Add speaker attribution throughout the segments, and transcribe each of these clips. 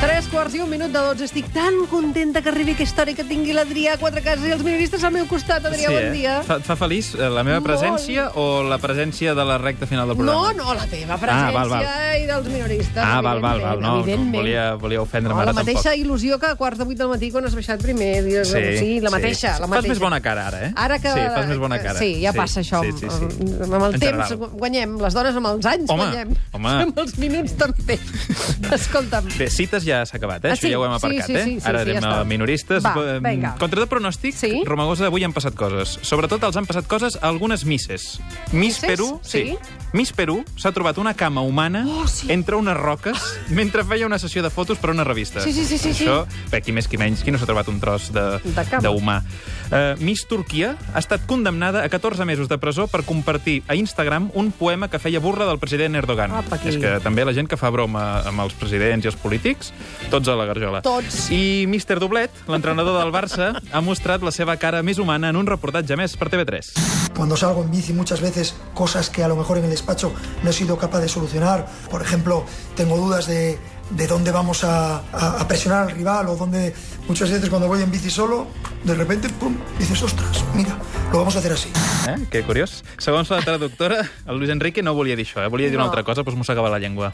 Speaker 1: tres quarts i un minut de 12. Estic tan contenta que arribi aquesta hora i que tingui l'Adrià a quatre cases i els minoristes al meu costat. Adrià, bon dia.
Speaker 2: Eh? Fa, et fa feliç eh, la meva
Speaker 1: Molt.
Speaker 2: presència o la presència de la recta final del
Speaker 1: No,
Speaker 2: programa?
Speaker 1: no, la teva
Speaker 2: Ah,
Speaker 1: presència
Speaker 2: val, val.
Speaker 1: i dels minoristes.
Speaker 2: Ah, val, val, val.
Speaker 1: evidentment,
Speaker 2: No, no
Speaker 1: evidentment.
Speaker 2: volia, volia ofendre'm
Speaker 1: No,
Speaker 2: ara
Speaker 1: la mateixa
Speaker 2: tampoc.
Speaker 1: il·lusió que a quarts de vuit del matí quan has baixat primer. Dius, sí, la mateixa.
Speaker 2: sí.
Speaker 1: La mateixa.
Speaker 2: Fas més bona cara, ara, eh?
Speaker 1: Ara que...
Speaker 2: Sí, fas més bona cara.
Speaker 1: Sí, ja passa això.
Speaker 2: Sí, sí, sí.
Speaker 1: Amb- Amb el
Speaker 2: En
Speaker 1: temps
Speaker 2: general.
Speaker 1: guanyem. Les dones amb els anys
Speaker 2: Home,
Speaker 1: guanyem.
Speaker 2: home.
Speaker 1: Amb els minuts també. Escolta'm.
Speaker 2: Bé, cites ja s'ha acabat, eh?
Speaker 1: Ah,
Speaker 2: Això
Speaker 1: sí,
Speaker 2: ja ho hem
Speaker 1: sí,
Speaker 2: aparcat,
Speaker 1: sí, sí,
Speaker 2: eh?
Speaker 1: sí,
Speaker 2: Ara
Speaker 1: sí,
Speaker 2: anem
Speaker 1: ja està.
Speaker 2: a minoristes.
Speaker 1: Va,
Speaker 2: Eh,
Speaker 1: vinga.
Speaker 2: Contra de pronòstic,
Speaker 1: Sí.
Speaker 2: Romagosa, avui han passat coses. Sobretot els han passat coses a algunes misses. Miss
Speaker 1: Misses?
Speaker 2: Perú,
Speaker 1: Sí.
Speaker 2: Miss Perú s'ha trobat una cama humana
Speaker 1: Oh, sí.
Speaker 2: entre unes roques mentre feia una sessió de fotos per a una revista.
Speaker 1: Sí, sí, sí, sí,
Speaker 2: Això, bé, qui més qui menys, qui no s'ha trobat un tros de-
Speaker 1: De cama.
Speaker 2: d'humà. Uh, Miss Turquia ha estat condemnada a 14 mesos de presó per compartir a Instagram un poema que feia burla del president Erdogan.
Speaker 1: Apa, aquí.
Speaker 2: És que també la gent que fa broma amb els presidents i els polítics, tots a la garjola.
Speaker 1: Tots.
Speaker 2: I Mister Doblet, l'entrenador del Barça, ha mostrat la seva cara més humana en un reportatge més per TV3.
Speaker 3: Cuando salgo en bici muchas veces cosas que a lo mejor en el despacho no he sido capaz de solucionar. Por ejemplo, tengo dudas de, de dónde vamos a, a- a presionar al rival o dónde muchas veces cuando voy en bici solo, de repente, pum, dices, ostras, mira, lo vamos a hacer así.
Speaker 2: Eh? Que curiós. Segons la traductora, el Luis Enrique no volia dir això, eh? volia dir una
Speaker 1: No.
Speaker 2: altra cosa, però mossegava la llengua.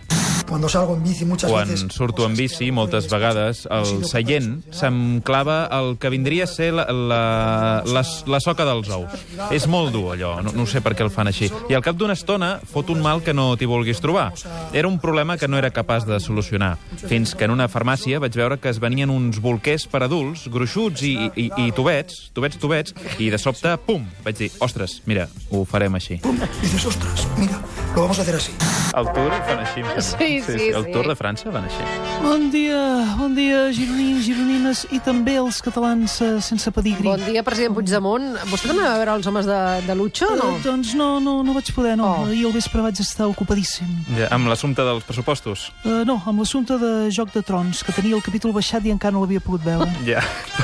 Speaker 3: Cuando salgo en bici muchas
Speaker 2: Quan
Speaker 3: veces...
Speaker 2: surto en
Speaker 3: cosas que a
Speaker 2: bici,
Speaker 3: lo mejor en el
Speaker 2: moltes
Speaker 3: despacho
Speaker 2: vegades,
Speaker 3: no he sido
Speaker 2: el
Speaker 3: capaz de
Speaker 2: seient
Speaker 3: solucionar.
Speaker 2: se'm clava el que vindria a ser la, la, la, la soca dels ous. És molt dur, allò. No, no sé per què el fan així. I al cap d'una estona fot un mal que no t'hi vulguis trobar. Era un problema que no era capaç de solucionar. Fins que en una farmàcia vaig veure que es venien uns bolquers per adults, gruixuts i, i, i tubets, tubets, tubets, i de sobte, pum, vaig dir, ostres, mira, ho farem així.
Speaker 3: Pum, dices, ostras, mira, lo vamos a hacer así.
Speaker 2: El Tour fan així. mira.
Speaker 1: Sí, sí,
Speaker 2: El
Speaker 1: sí.
Speaker 2: Tour de França fan així.
Speaker 4: Bon dia, bon dia, gironins, gironines i també els catalans eh, sense pedigrí.
Speaker 1: Bon dia, president Puigdemont. Vostè també va veure els homes de, de Lutxo o no?
Speaker 4: Eh, doncs no, no, no vaig poder, no.
Speaker 1: Oh.
Speaker 4: Oh. Ahir al vespre vaig estar ocupadíssim.
Speaker 2: Ja, amb l'assumpte dels pressupostos.
Speaker 4: Eh, no, amb l'assumpte de Joc de Trons, que tenia el capítol baixat i encara no l'havia pogut veure.
Speaker 2: Ja.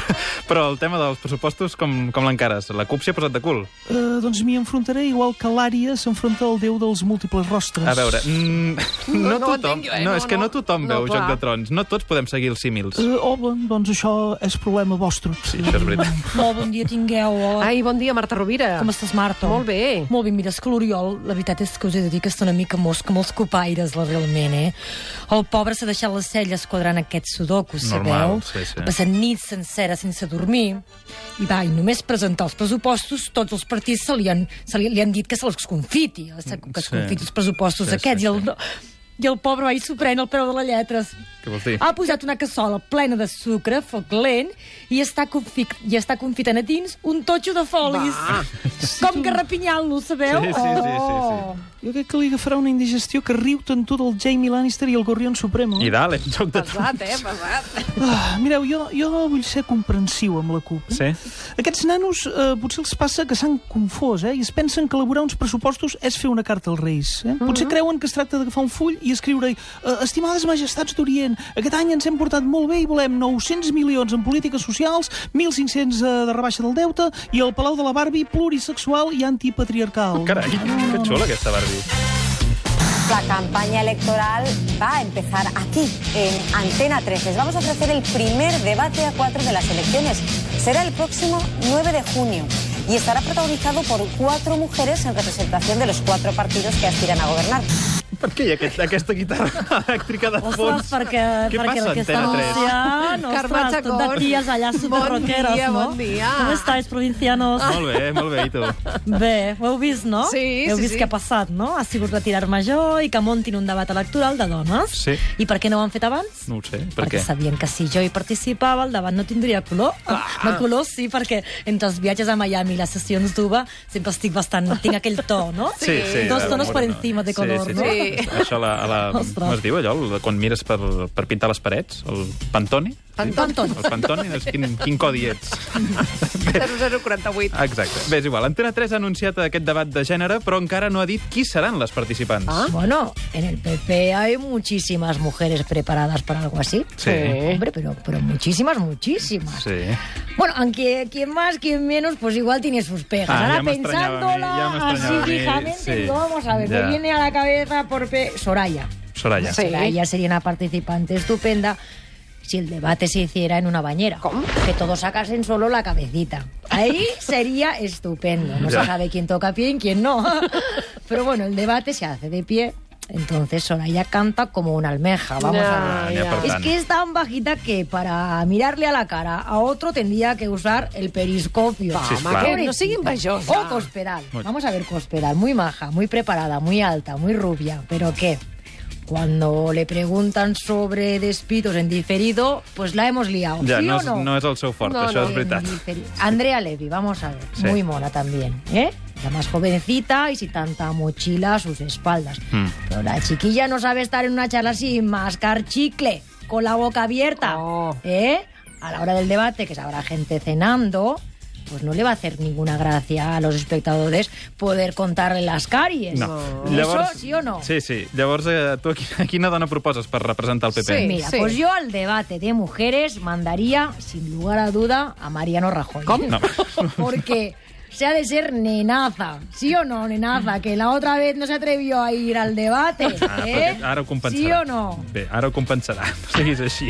Speaker 2: Però el tema dels pressupostos, com, com l'encares? La CUP s'hi ha posat de cul.
Speaker 4: Eh, doncs m'hi enfrontaré igual que l'ària s'enfronta al déu dels múltiples rostres.
Speaker 2: A veure, mm, no,
Speaker 1: No, no ho
Speaker 2: tothom...
Speaker 1: entenc jo, eh?
Speaker 2: no,
Speaker 1: No,
Speaker 2: és que no
Speaker 1: no.
Speaker 2: tothom
Speaker 1: No,
Speaker 2: veu
Speaker 1: clar.
Speaker 2: Joc de Trons. No tots podem seguir els símils.
Speaker 4: Eh, oh, bon, doncs això és problema vostre.
Speaker 2: Sí, això és veritat.
Speaker 5: Molt bon dia tingueu. Hola.
Speaker 1: Ai, bon dia, Marta Rovira.
Speaker 5: Com estàs, Marta?
Speaker 1: Molt bé.
Speaker 5: Molt bé, mira, és que l'Oriol, la veritat és que us he de dir que està una mica mosca amb els copaires, la, realment, eh? El pobre s'ha deixat les celles quadrant aquest sudoku,
Speaker 2: Normal,
Speaker 5: sabeu?
Speaker 2: sí, sí.
Speaker 5: Ha passat nits senceres sense dormir. I va, i només presentar els pressupostos, tots els partits se li han, se li, li han dit que se'ls confiti, eh? que es
Speaker 2: Sí.
Speaker 5: confiti els pressupostos
Speaker 2: Sí,
Speaker 5: aquests.
Speaker 2: sí,
Speaker 5: I el, i el pobre va i s'ho pren al peu de les lletres.
Speaker 2: Què vols dir?
Speaker 5: Ha posat una cassola plena de sucre, foc lent, i està, confic i està confitant a dins un totxo de folis.
Speaker 1: Va.
Speaker 5: Com que repinyant-lo, sabeu?
Speaker 2: Sí, sí, sí, sí, sí.
Speaker 4: Jo crec que li agafarà una indigestió que riu tant tot el Jamie Lannister i el Gorrión Supremo.
Speaker 2: I dale, Joc de Trons.
Speaker 1: Pesat, eh? Pesat.
Speaker 4: Ah, mireu, jo, jo vull ser comprensiu amb la CUP. eh?
Speaker 2: Sí?
Speaker 4: Aquests nanos eh, potser els passa que s'han confós eh, i es pensen que elaborar uns pressupostos és fer una carta als Reis. Eh? Potser creuen que es tracta d'agafar un full i escriure eh, Estimades majestats d'Orient, aquest any ens hem portat molt bé i volem 900 milions en polítiques socials, 1.500 eh, de rebaixa del deute i el Palau de la Barbie plurisexual i antipatriarcal.
Speaker 2: Carai, que xula aquesta Barbie.
Speaker 6: La campaña electoral va a empezar aquí, en Antena 3. Les vamos a ofrecer el primer debate a cuatro de las elecciones. Será el próximo 9 de junio y estará protagonizado por cuatro mujeres en representación de los cuatro partidos que aspiran a gobernar.
Speaker 2: Per què hi ha aquest, aquesta guitarra elèctrica de
Speaker 5: Oh, Ostres,
Speaker 2: fons?
Speaker 5: perquè,
Speaker 2: Què
Speaker 5: perquè
Speaker 2: passa,
Speaker 5: la que està
Speaker 2: Antena 3?
Speaker 5: anunciant,
Speaker 1: Carme
Speaker 5: ostres, tot de
Speaker 1: Chacón.
Speaker 5: ties allà superroqueres,
Speaker 1: Bon dia,
Speaker 5: no?
Speaker 1: bon dia. Ah.
Speaker 5: Com estàs, provincianos?
Speaker 2: Molt bé, molt bé, i tu?
Speaker 5: Bé, ho heu vist, no?
Speaker 1: Sí,
Speaker 5: heu
Speaker 1: sí,
Speaker 5: vist
Speaker 1: sí.
Speaker 5: què ha passat, no? Ha sigut retirar major i que montin un debat electoral de dones.
Speaker 2: Sí.
Speaker 5: I per què no ho han fet abans?
Speaker 2: No ho sé, per
Speaker 5: perquè
Speaker 2: què?
Speaker 5: sabien que si jo hi participava el debat no tindria color. Ah. No color sí, perquè entre els viatges a Miami i les sessions d'UBA sempre estic bastant... tinc aquell to, no?
Speaker 2: Sí, sí.
Speaker 5: Dos
Speaker 2: de-
Speaker 5: tonos per
Speaker 2: bueno,
Speaker 5: encima de
Speaker 2: sí,
Speaker 5: color,
Speaker 2: sí,
Speaker 5: no?
Speaker 2: Sí.
Speaker 1: Sí.
Speaker 2: Això la, a la,
Speaker 5: Ostres.
Speaker 2: com es diu allò, el- quan mires per, per pintar les parets? El pantone?
Speaker 1: Pantone.
Speaker 2: El pantone, doncs quin, quin codi ets?
Speaker 1: 0048.
Speaker 2: Exacte. Bé, és igual. Antena 3 ha anunciat aquest debat de gènere, però encara no ha dit qui seran les participants.
Speaker 1: Ah.
Speaker 5: Bueno, en el PP hay muchísimas mujeres preparadas para algo así.
Speaker 2: Sí.
Speaker 5: Hombre, pero, pero muchísimas, muchísimas.
Speaker 2: Sí.
Speaker 5: Bueno, aunque quien más, quien menos, pues igual tiene sus pegas.
Speaker 2: Ah, ya
Speaker 5: Ahora
Speaker 2: me extrañaba a mí, ya me extrañaba a
Speaker 5: pensándola así
Speaker 2: mí,
Speaker 5: fijamente,
Speaker 2: sí.
Speaker 5: digo, vamos a ver,
Speaker 2: Ya.
Speaker 5: me viene a la cabeza por pe- Soraya.
Speaker 2: Soraya.
Speaker 1: Sí.
Speaker 5: Soraya sería una participante estupenda. si el debate se hiciera en una bañera. Que todos sacasen solo la cabecita. Ahí sería estupendo. No
Speaker 2: Ya.
Speaker 5: se sabe quién toca pie y quién no. Pero bueno, el debate se hace de pie. Entonces Soraya canta como una almeja. Vamos a ver.
Speaker 2: Ah, ya, per
Speaker 5: Es
Speaker 2: tant.
Speaker 5: que es tan bajita que para mirarle a la cara a otro tendría que usar el periscopio.
Speaker 2: Sí, esclar.
Speaker 5: Pobrecita.
Speaker 1: No sigui envejosa.
Speaker 5: O Cospedal. Vamos a ver Cospedal, muy maja, muy preparada, muy alta, muy rubia. ¿Pero qué? Cuando le preguntan sobre despidos en diferido, pues la hemos liado.
Speaker 2: Ja,
Speaker 5: ¿Sí
Speaker 2: no,
Speaker 5: o
Speaker 2: és-
Speaker 5: no?
Speaker 2: no és el seu fort,
Speaker 1: No,
Speaker 2: això
Speaker 1: no.
Speaker 2: és veritat.
Speaker 5: En diferido. Andrea Levy, vamos a ver.
Speaker 2: Sí.
Speaker 5: Muy mona también, ¿eh? La más jovencita y sin tanta mochila a sus espaldas.
Speaker 2: Mm.
Speaker 5: Pero la chiquilla no sabe estar en una charla sin mascar chicle, con la boca abierta.
Speaker 1: Oh.
Speaker 5: ¿Eh? A la hora del debate, que habrá gente cenando, pues no le va a hacer ninguna gracia a los espectadores poder contarle las caries. ¿Eso sí o no?
Speaker 2: Sí, sí. Llavors, eh, tu a quina, a quina dona proposes per representar el PP?
Speaker 1: Sí.
Speaker 5: Mira, pues yo al debate de mujeres mandaría, sin lugar a duda, a Mariano Rajoy.
Speaker 2: No.
Speaker 5: Porque se ha de ser nenaza, ¿sí o no, nenaza? Que la otra vez no se atrevió a ir al debate,
Speaker 2: Ah,
Speaker 5: ¿eh?
Speaker 2: perquè ara ho compensarà.
Speaker 5: ¿Sí o no?
Speaker 2: Bé, ara ho compensarà. No siguis així.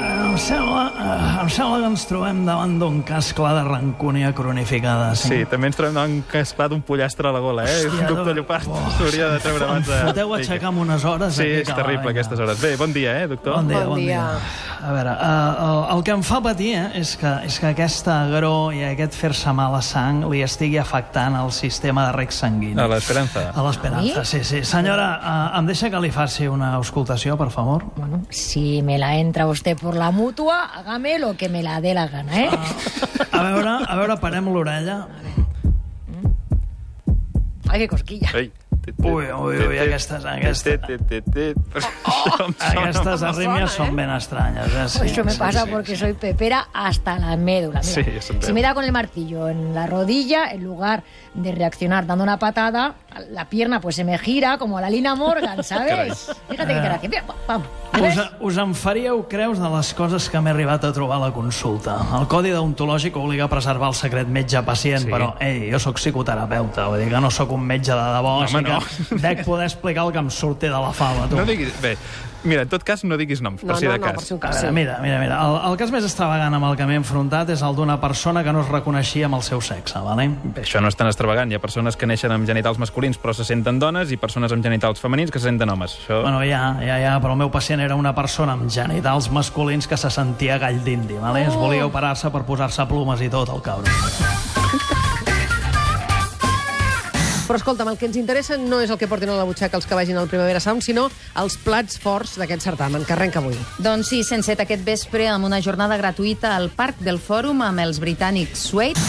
Speaker 4: Em sembla, eh, em sembla que ens trobem davant d'un cas clar de rancúnia cronificada.
Speaker 2: Sí, també ens trobem un caspar d'un pollastre a la gola, eh? Hòstia, un cuc de llopart
Speaker 4: Oh,
Speaker 2: s'hauria de treure abans de...
Speaker 4: Em foteu aixecar amb unes hores.
Speaker 2: Sí,
Speaker 4: aquí,
Speaker 2: és
Speaker 4: que la
Speaker 2: terrible
Speaker 4: venga.
Speaker 2: aquestes hores. Bé, bon dia, eh, doctor?
Speaker 4: Bon dia,
Speaker 1: Bon
Speaker 4: bon,
Speaker 1: dia.
Speaker 4: dia. A veure, eh, el, el que em fa patir eh, és, que, és que aquesta agró i aquest fer-se mal a sang li estigui afectant el sistema de rec sanguini.
Speaker 2: A l'esperança.
Speaker 4: A l'esperança, sí, sí. Senyora, eh, em deixa que li faci una auscultació, per favor?
Speaker 5: Bueno, si me la entra usted por la mutua, hágame lo que me la dé la gana, ¿eh?
Speaker 2: Ah.
Speaker 4: A veure, a veure, parem l'orella.
Speaker 5: Ay, qué cosquilla.
Speaker 2: Ei.
Speaker 4: Ui, ui, ui, aquestes, aquestes. Aquestes arrímies són ben estranyes, eh? Sí,
Speaker 5: Eso me
Speaker 4: sí,
Speaker 5: pasa
Speaker 4: sí.
Speaker 5: porque soy pepera hasta la médula. Mira,
Speaker 2: Sí, eso te-
Speaker 5: si me da con el martillo en la rodilla, en lugar de reaccionar dando una patada, la pierna pues se me gira como a la Lina Morgan,
Speaker 2: Caray.
Speaker 5: ¿sabes? Fíjate
Speaker 4: Ah.
Speaker 5: qué gracia. Mira, vamos.
Speaker 4: Us, us en faríeu creus de les coses que m'he arribat a trobar a la consulta. El codi deontològic obliga a preservar el secret metge-pacient,
Speaker 2: Sí.
Speaker 4: sí. però, ei, jo sóc psicoterapeuta, vull dir que no sóc un metge de debò,
Speaker 2: No,
Speaker 4: així
Speaker 2: home,
Speaker 4: que dec poder explicar el que em surti de la fava, tu.
Speaker 2: No diguis... Bé, mira, en tot cas, no diguis noms,
Speaker 1: No,
Speaker 2: per si
Speaker 1: no,
Speaker 2: de
Speaker 1: no,
Speaker 2: cas.
Speaker 1: per si ho
Speaker 4: A
Speaker 1: cas.
Speaker 4: veure, mira, mira, mira. El, el cas més extravagant amb el que m'he enfrontat és el d'una persona que no es reconeixia amb el seu sexe, vale?
Speaker 2: Bé, això no és tan extravagant. Hi ha persones que neixen amb genitals masculins però se senten dones i persones amb genitals femenins que se senten homes. Això...
Speaker 4: Bueno, ja, ja, ja, però el meu pacient era una persona amb genitals masculins que se sentia gall d'indi, vale? Es volia operar-se per posar-se plomes i tot, el cabron.
Speaker 1: Però escolta'm, el que ens interessa no és el que portin a la butxaca els que vagin al Primavera Sound, sinó els plats forts d'aquest certamen, que arrenca avui.
Speaker 7: Doncs sí, sense aquest vespre amb una jornada gratuïta al Parc del Fòrum amb els britànics Suede.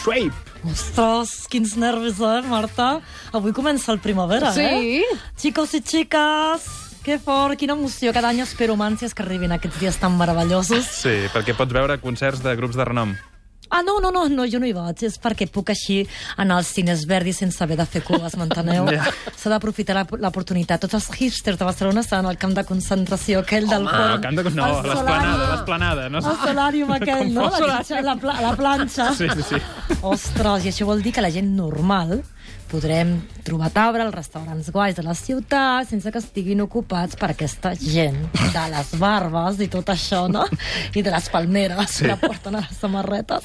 Speaker 2: Swipe!
Speaker 5: Ostres, quins nervis, eh, Marta? Avui comença el primavera,
Speaker 1: Sí.
Speaker 5: eh? Chicos i xiques, que fort, quina emoció. Cada any espero amb ànsies que arribin aquests dies tan meravellosos.
Speaker 2: Sí, perquè pots veure concerts de grups de renom.
Speaker 5: Ah, no, no, no, no, jo no hi vaig. És perquè puc així anar als cines verdi sense haver de fer cues, m'enteneu?
Speaker 2: Ja.
Speaker 5: S'ha d'aprofitar la- l'oportunitat. Tots els hipsters de Barcelona estan al camp de concentració aquell del
Speaker 2: Ah,
Speaker 5: Fòrum.
Speaker 2: el camp de... No,
Speaker 5: El
Speaker 2: l'esplanada,
Speaker 5: solari.
Speaker 2: l'esplanada. No?
Speaker 5: El solàrium aquell, no? La, planxa, la, pla, la planxa.
Speaker 2: Sí, sí, sí.
Speaker 5: Ostres, i això vol dir que la gent normal podrem trobar taula als restaurants guais de la ciutat sense que estiguin ocupats per aquesta gent de les barbes i tot això, no? I de les palmeres sí. que porten a les samarretes.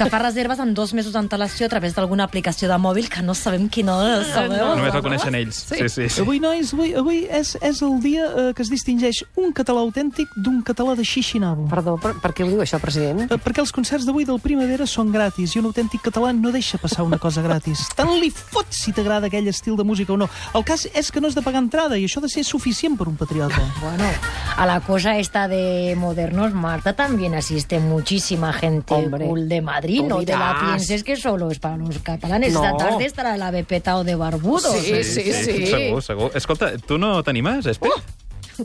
Speaker 5: Que fa reserves amb dos mesos d'antelació a través d'alguna aplicació de mòbil que no sabem quina és, sabeu?
Speaker 2: Només la coneixen ells. Sí, sí. sí.
Speaker 4: Avui, nois, avui, avui és, és el dia eh, que es distingeix un català autèntic d'un català de xixinabo. Per...
Speaker 1: Perdó, per, per què ho diu això, president?
Speaker 4: Eh, Perquè els concerts d'avui del Primavera són gratis i un autèntic català no deixa passar una cosa gratis. Tant li fot si t'agrada aquell estil de música o no. El cas és que no has de pagar entrada i això ha de ser suficient per un patriota.
Speaker 5: Bueno, a la cosa esta de modernos, Marta, también asiste muchísima gente
Speaker 1: Hombre.
Speaker 5: cool de Madrid.
Speaker 1: Tú
Speaker 5: No te la
Speaker 1: dirás.
Speaker 5: pienses que solo es para los catalanes.
Speaker 1: No.
Speaker 5: Esta tarde estará la Bepeta o de Barbudos.
Speaker 1: Sí, sí, sí. Oh!
Speaker 2: Segur, segur. Escolta, tu no t'animes, Espe? Uh!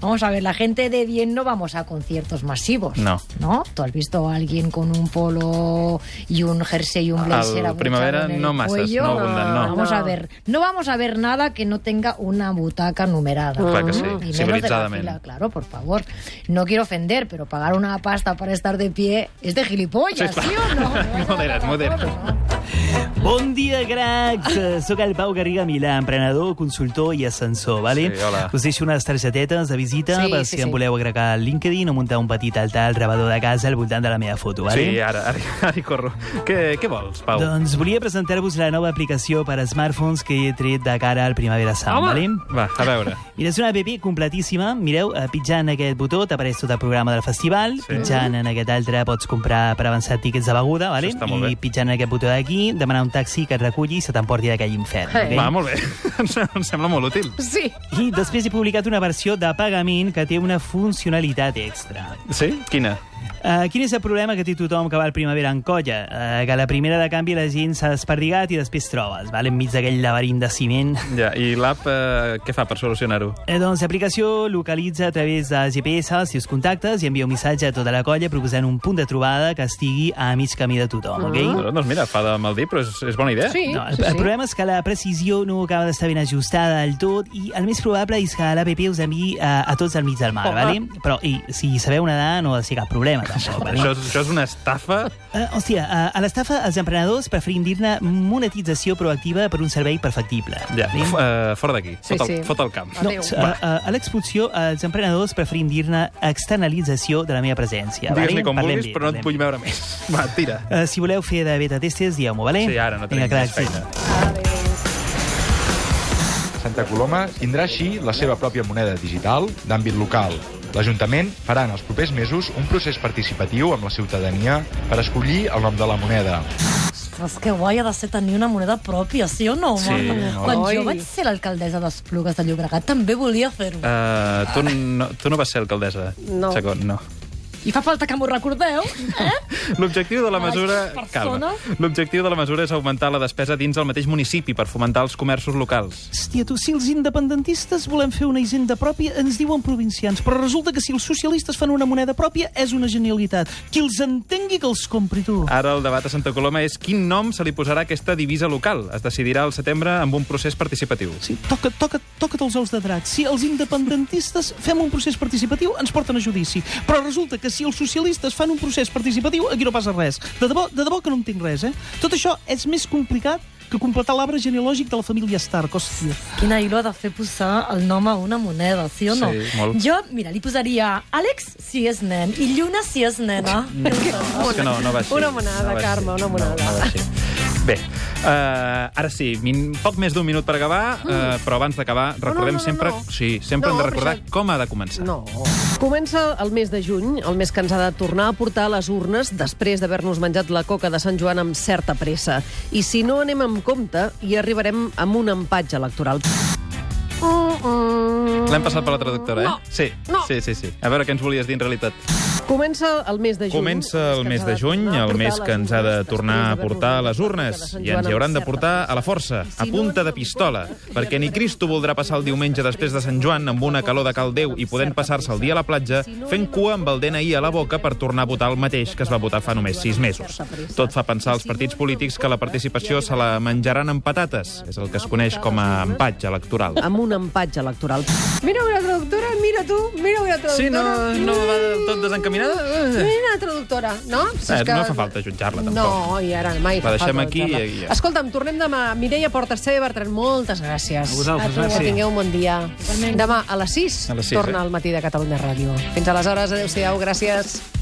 Speaker 5: Vamos a ver, la gente de bien no vamos a conciertos masivos.
Speaker 2: No.
Speaker 5: ¿No? ¿Tú has visto a alguien con un polo y un jersey y un blazer
Speaker 2: Al
Speaker 5: abrochado
Speaker 2: primavera
Speaker 5: en el
Speaker 2: no masas,
Speaker 5: cuello?
Speaker 2: no abundan, no.
Speaker 5: Vamos a ver, no vamos a ver nada que no tenga una butaca numerada.
Speaker 2: Clar que sí,
Speaker 5: Y menos de la
Speaker 2: civilizadament.
Speaker 5: fila, claro, por favor. No quiero ofender, pero pagar una pasta para estar de pie es de gilipollas, ¿sí, o no?
Speaker 2: Modera't, modera't.
Speaker 8: Bon dia,
Speaker 4: Eh,
Speaker 8: cracs! Sóc el Pau Garriga Milà, emprenedor, consultor i ascensor, vale?
Speaker 2: Sí, hola.
Speaker 8: Us deixo unes targetes
Speaker 4: etiquetetes de visita
Speaker 1: Sí,
Speaker 4: per
Speaker 1: sí,
Speaker 4: si
Speaker 1: sí.
Speaker 4: em voleu agregar al LinkedIn o muntar un petit altar al rebedor de casa al voltant de la meva foto, vale?
Speaker 2: Sí, ara, ara, ara hi corro. Què, què vols, Pau?
Speaker 4: Doncs volia presentar-vos la nova aplicació per a smartphones que he tret de cara al Primavera Sound, vale?
Speaker 2: Va, a veure.
Speaker 4: Mira, és una app completíssima. Mireu, eh, pitjant aquest botó t'apareix tot el programa del festival, sí. pitjant en aquest altre pots comprar per avançar tiquets de beguda, vale?
Speaker 2: Això està molt
Speaker 4: i
Speaker 2: bé.
Speaker 4: pitjant en aquest botó d'aquí, demanar un taxi que et reculli i se t'emporti d'aquell infern.
Speaker 2: Okay. Va, molt bé. em sem- em sembla molt útil.
Speaker 1: Sí.
Speaker 4: I després he publicat una versió de pagament que té una funcionalitat extra.
Speaker 2: Sí? Quina?
Speaker 4: Uh, quin és el problema que té tothom que va al primavera en colla? Uh, que a la primera de canvi la gent s'ha desperdigat i després trobes, vale? enmig d'aquell laberint de ciment.
Speaker 2: Ja, i l'app eh, què fa per solucionar-ho?
Speaker 4: Eh, doncs l'aplicació localitza a través de GPS els seus contactes i envia un missatge a tota la colla proposant un punt de trobada que estigui a mig camí de tothom, ok?
Speaker 2: No, doncs mira, fa de mal dir, però és, és bona idea.
Speaker 1: Sí.
Speaker 4: No, el, el problema és que la precisió no acaba d'estar ben ajustada del tot i el més probable és que l'APP us enviï a, a tots al mig del mar, vale? Però i, si sabeu nedar no ha de ser cap problema, tampoc, vale?
Speaker 2: Això, és- això és una estafa.
Speaker 4: Uh, hòstia, uh, a l'estafa els emprenedors preferim dir-ne monetització proactiva per un servei perfectible.
Speaker 2: Ja,
Speaker 4: Vale?
Speaker 2: f, uh, fora d'aquí.
Speaker 1: Sí,
Speaker 2: Sí, fot, el,
Speaker 1: sí.
Speaker 2: fot el camp.
Speaker 1: Adéu.
Speaker 4: Uh, uh, a l'expulsió, els emprenedors preferim dir-ne externalització de la meva presència. vale?
Speaker 2: Digues-li com
Speaker 4: Parlem
Speaker 2: vulguis,
Speaker 4: bé,
Speaker 2: però no et
Speaker 4: parlem
Speaker 2: vull
Speaker 4: bé.
Speaker 2: veure més. Va, tira.
Speaker 4: Uh, si voleu fer de beta testers, dieu-m'ho, vale?
Speaker 2: Sí, ara no tenim
Speaker 4: Vinga,
Speaker 2: més
Speaker 4: cracs, sí.
Speaker 2: feina.
Speaker 9: Santa Coloma tindrà així la seva pròpia moneda digital d'àmbit local. L'Ajuntament farà en els propers mesos un procés participatiu amb la ciutadania per escollir el nom de la moneda.
Speaker 10: Ostres, que guai ha de ser tenir una moneda pròpia, sí o no?
Speaker 2: Sí,
Speaker 10: home?
Speaker 2: no?
Speaker 10: Quan
Speaker 1: Oi.
Speaker 10: jo vaig ser l'alcaldessa d'Esplugues de Llobregat també volia fer-ho.
Speaker 2: Uh, tu, no, tu no vas ser alcaldessa.
Speaker 1: No.
Speaker 2: Segon, no.
Speaker 10: I fa falta que m'ho recordeu, eh?
Speaker 2: L'objectiu de la
Speaker 10: Ai,
Speaker 2: mesura...
Speaker 10: persona.
Speaker 2: Calma. L'objectiu de la mesura és augmentar la despesa dins el mateix municipi per fomentar els comerços locals.
Speaker 11: Hòstia, tu, si els independentistes volem fer una hisenda pròpia, ens diuen provincians. Però resulta que si els socialistes fan una moneda pròpia, és una genialitat. Qui els entengui que els compri, tu.
Speaker 2: Ara el debat a Santa Coloma és quin nom se li posarà a aquesta divisa local. Es decidirà al setembre amb un procés participatiu.
Speaker 11: Sí, toca, toca, toca't els ous de drac. Si els independentistes fem un procés participatiu, ens porten a judici. Però resulta que si els socialistes fan un procés participatiu, aquí no passa res. De debò, de debò que no entenc res, eh? Tot això és més complicat que completar l'arbre genealògic de la família Stark, hòstia.
Speaker 10: Quina il·lo ha de fer posar el nom a una moneda, sí o no?
Speaker 2: Sí, molt.
Speaker 10: Jo, mira, li posaria Àlex si és nen i Lluna si és nena.
Speaker 2: Mm. És que no, no va així.
Speaker 1: Una monada,
Speaker 2: no va
Speaker 1: Carme, una monada.
Speaker 2: No, no va així. Bé, uh, ara sí, min, poc més d'un minut per acabar, uh, però abans d'acabar
Speaker 1: Mm. no,
Speaker 2: recordem
Speaker 1: no,
Speaker 2: sempre...
Speaker 1: no.
Speaker 2: Sí, sempre
Speaker 1: No,
Speaker 2: hem de
Speaker 1: però
Speaker 2: recordar
Speaker 1: això-
Speaker 2: com ha de començar.
Speaker 1: No. Comença el mes de juny, el mes que ens ha de tornar a portar a les urnes després d'haver-nos menjat la coca de Sant Joan amb certa pressa. I si no anem amb compte, hi arribarem amb un empatge electoral. Mm -mm.
Speaker 2: L'hem passat per la traductora, eh?
Speaker 1: No.
Speaker 2: Sí,
Speaker 1: No.
Speaker 2: sí, sí, sí. A veure què ens volies dir en realitat.
Speaker 1: Comença el mes de juny.
Speaker 2: Comença el mes de juny, el mes que ens ha de tornar a portar a les urnes i ens hi hauran de portar a la força, a punta de pistola, perquè ni Cristo voldrà passar el diumenge després de Sant Joan amb una calor de cal Déu i podent passar-se el dia a la platja fent cua amb el DNI a la boca per tornar a votar el mateix que es va votar fa només sis mesos. Tot fa pensar als partits polítics que la participació se la menjaran amb patates, és el que es coneix com a empatge electoral.
Speaker 1: amb un empatge electoral. Mira una traductora, mira tu, mira una traductora.
Speaker 2: Sí, no, no va del tot desencaminada? Eh.
Speaker 1: Mira una traductora, no? Si
Speaker 2: Eh, no fa falta jutjar-la, tampoc.
Speaker 1: No, i ara mai
Speaker 2: La
Speaker 1: fa
Speaker 2: deixem
Speaker 1: falta
Speaker 2: aquí
Speaker 1: jutjar-la.
Speaker 2: i- i-
Speaker 1: Escolta'm, tornem demà. Mireia Portacé, Bertran, moltes gràcies.
Speaker 4: A vosaltres,
Speaker 1: tu,
Speaker 4: gràcies.
Speaker 1: Que tingueu un bon dia. Demà a les 6,
Speaker 2: A les sis,
Speaker 1: torna
Speaker 2: eh?
Speaker 1: al matí de Catalunya Ràdio. Fins aleshores, adeu-siau, gràcies.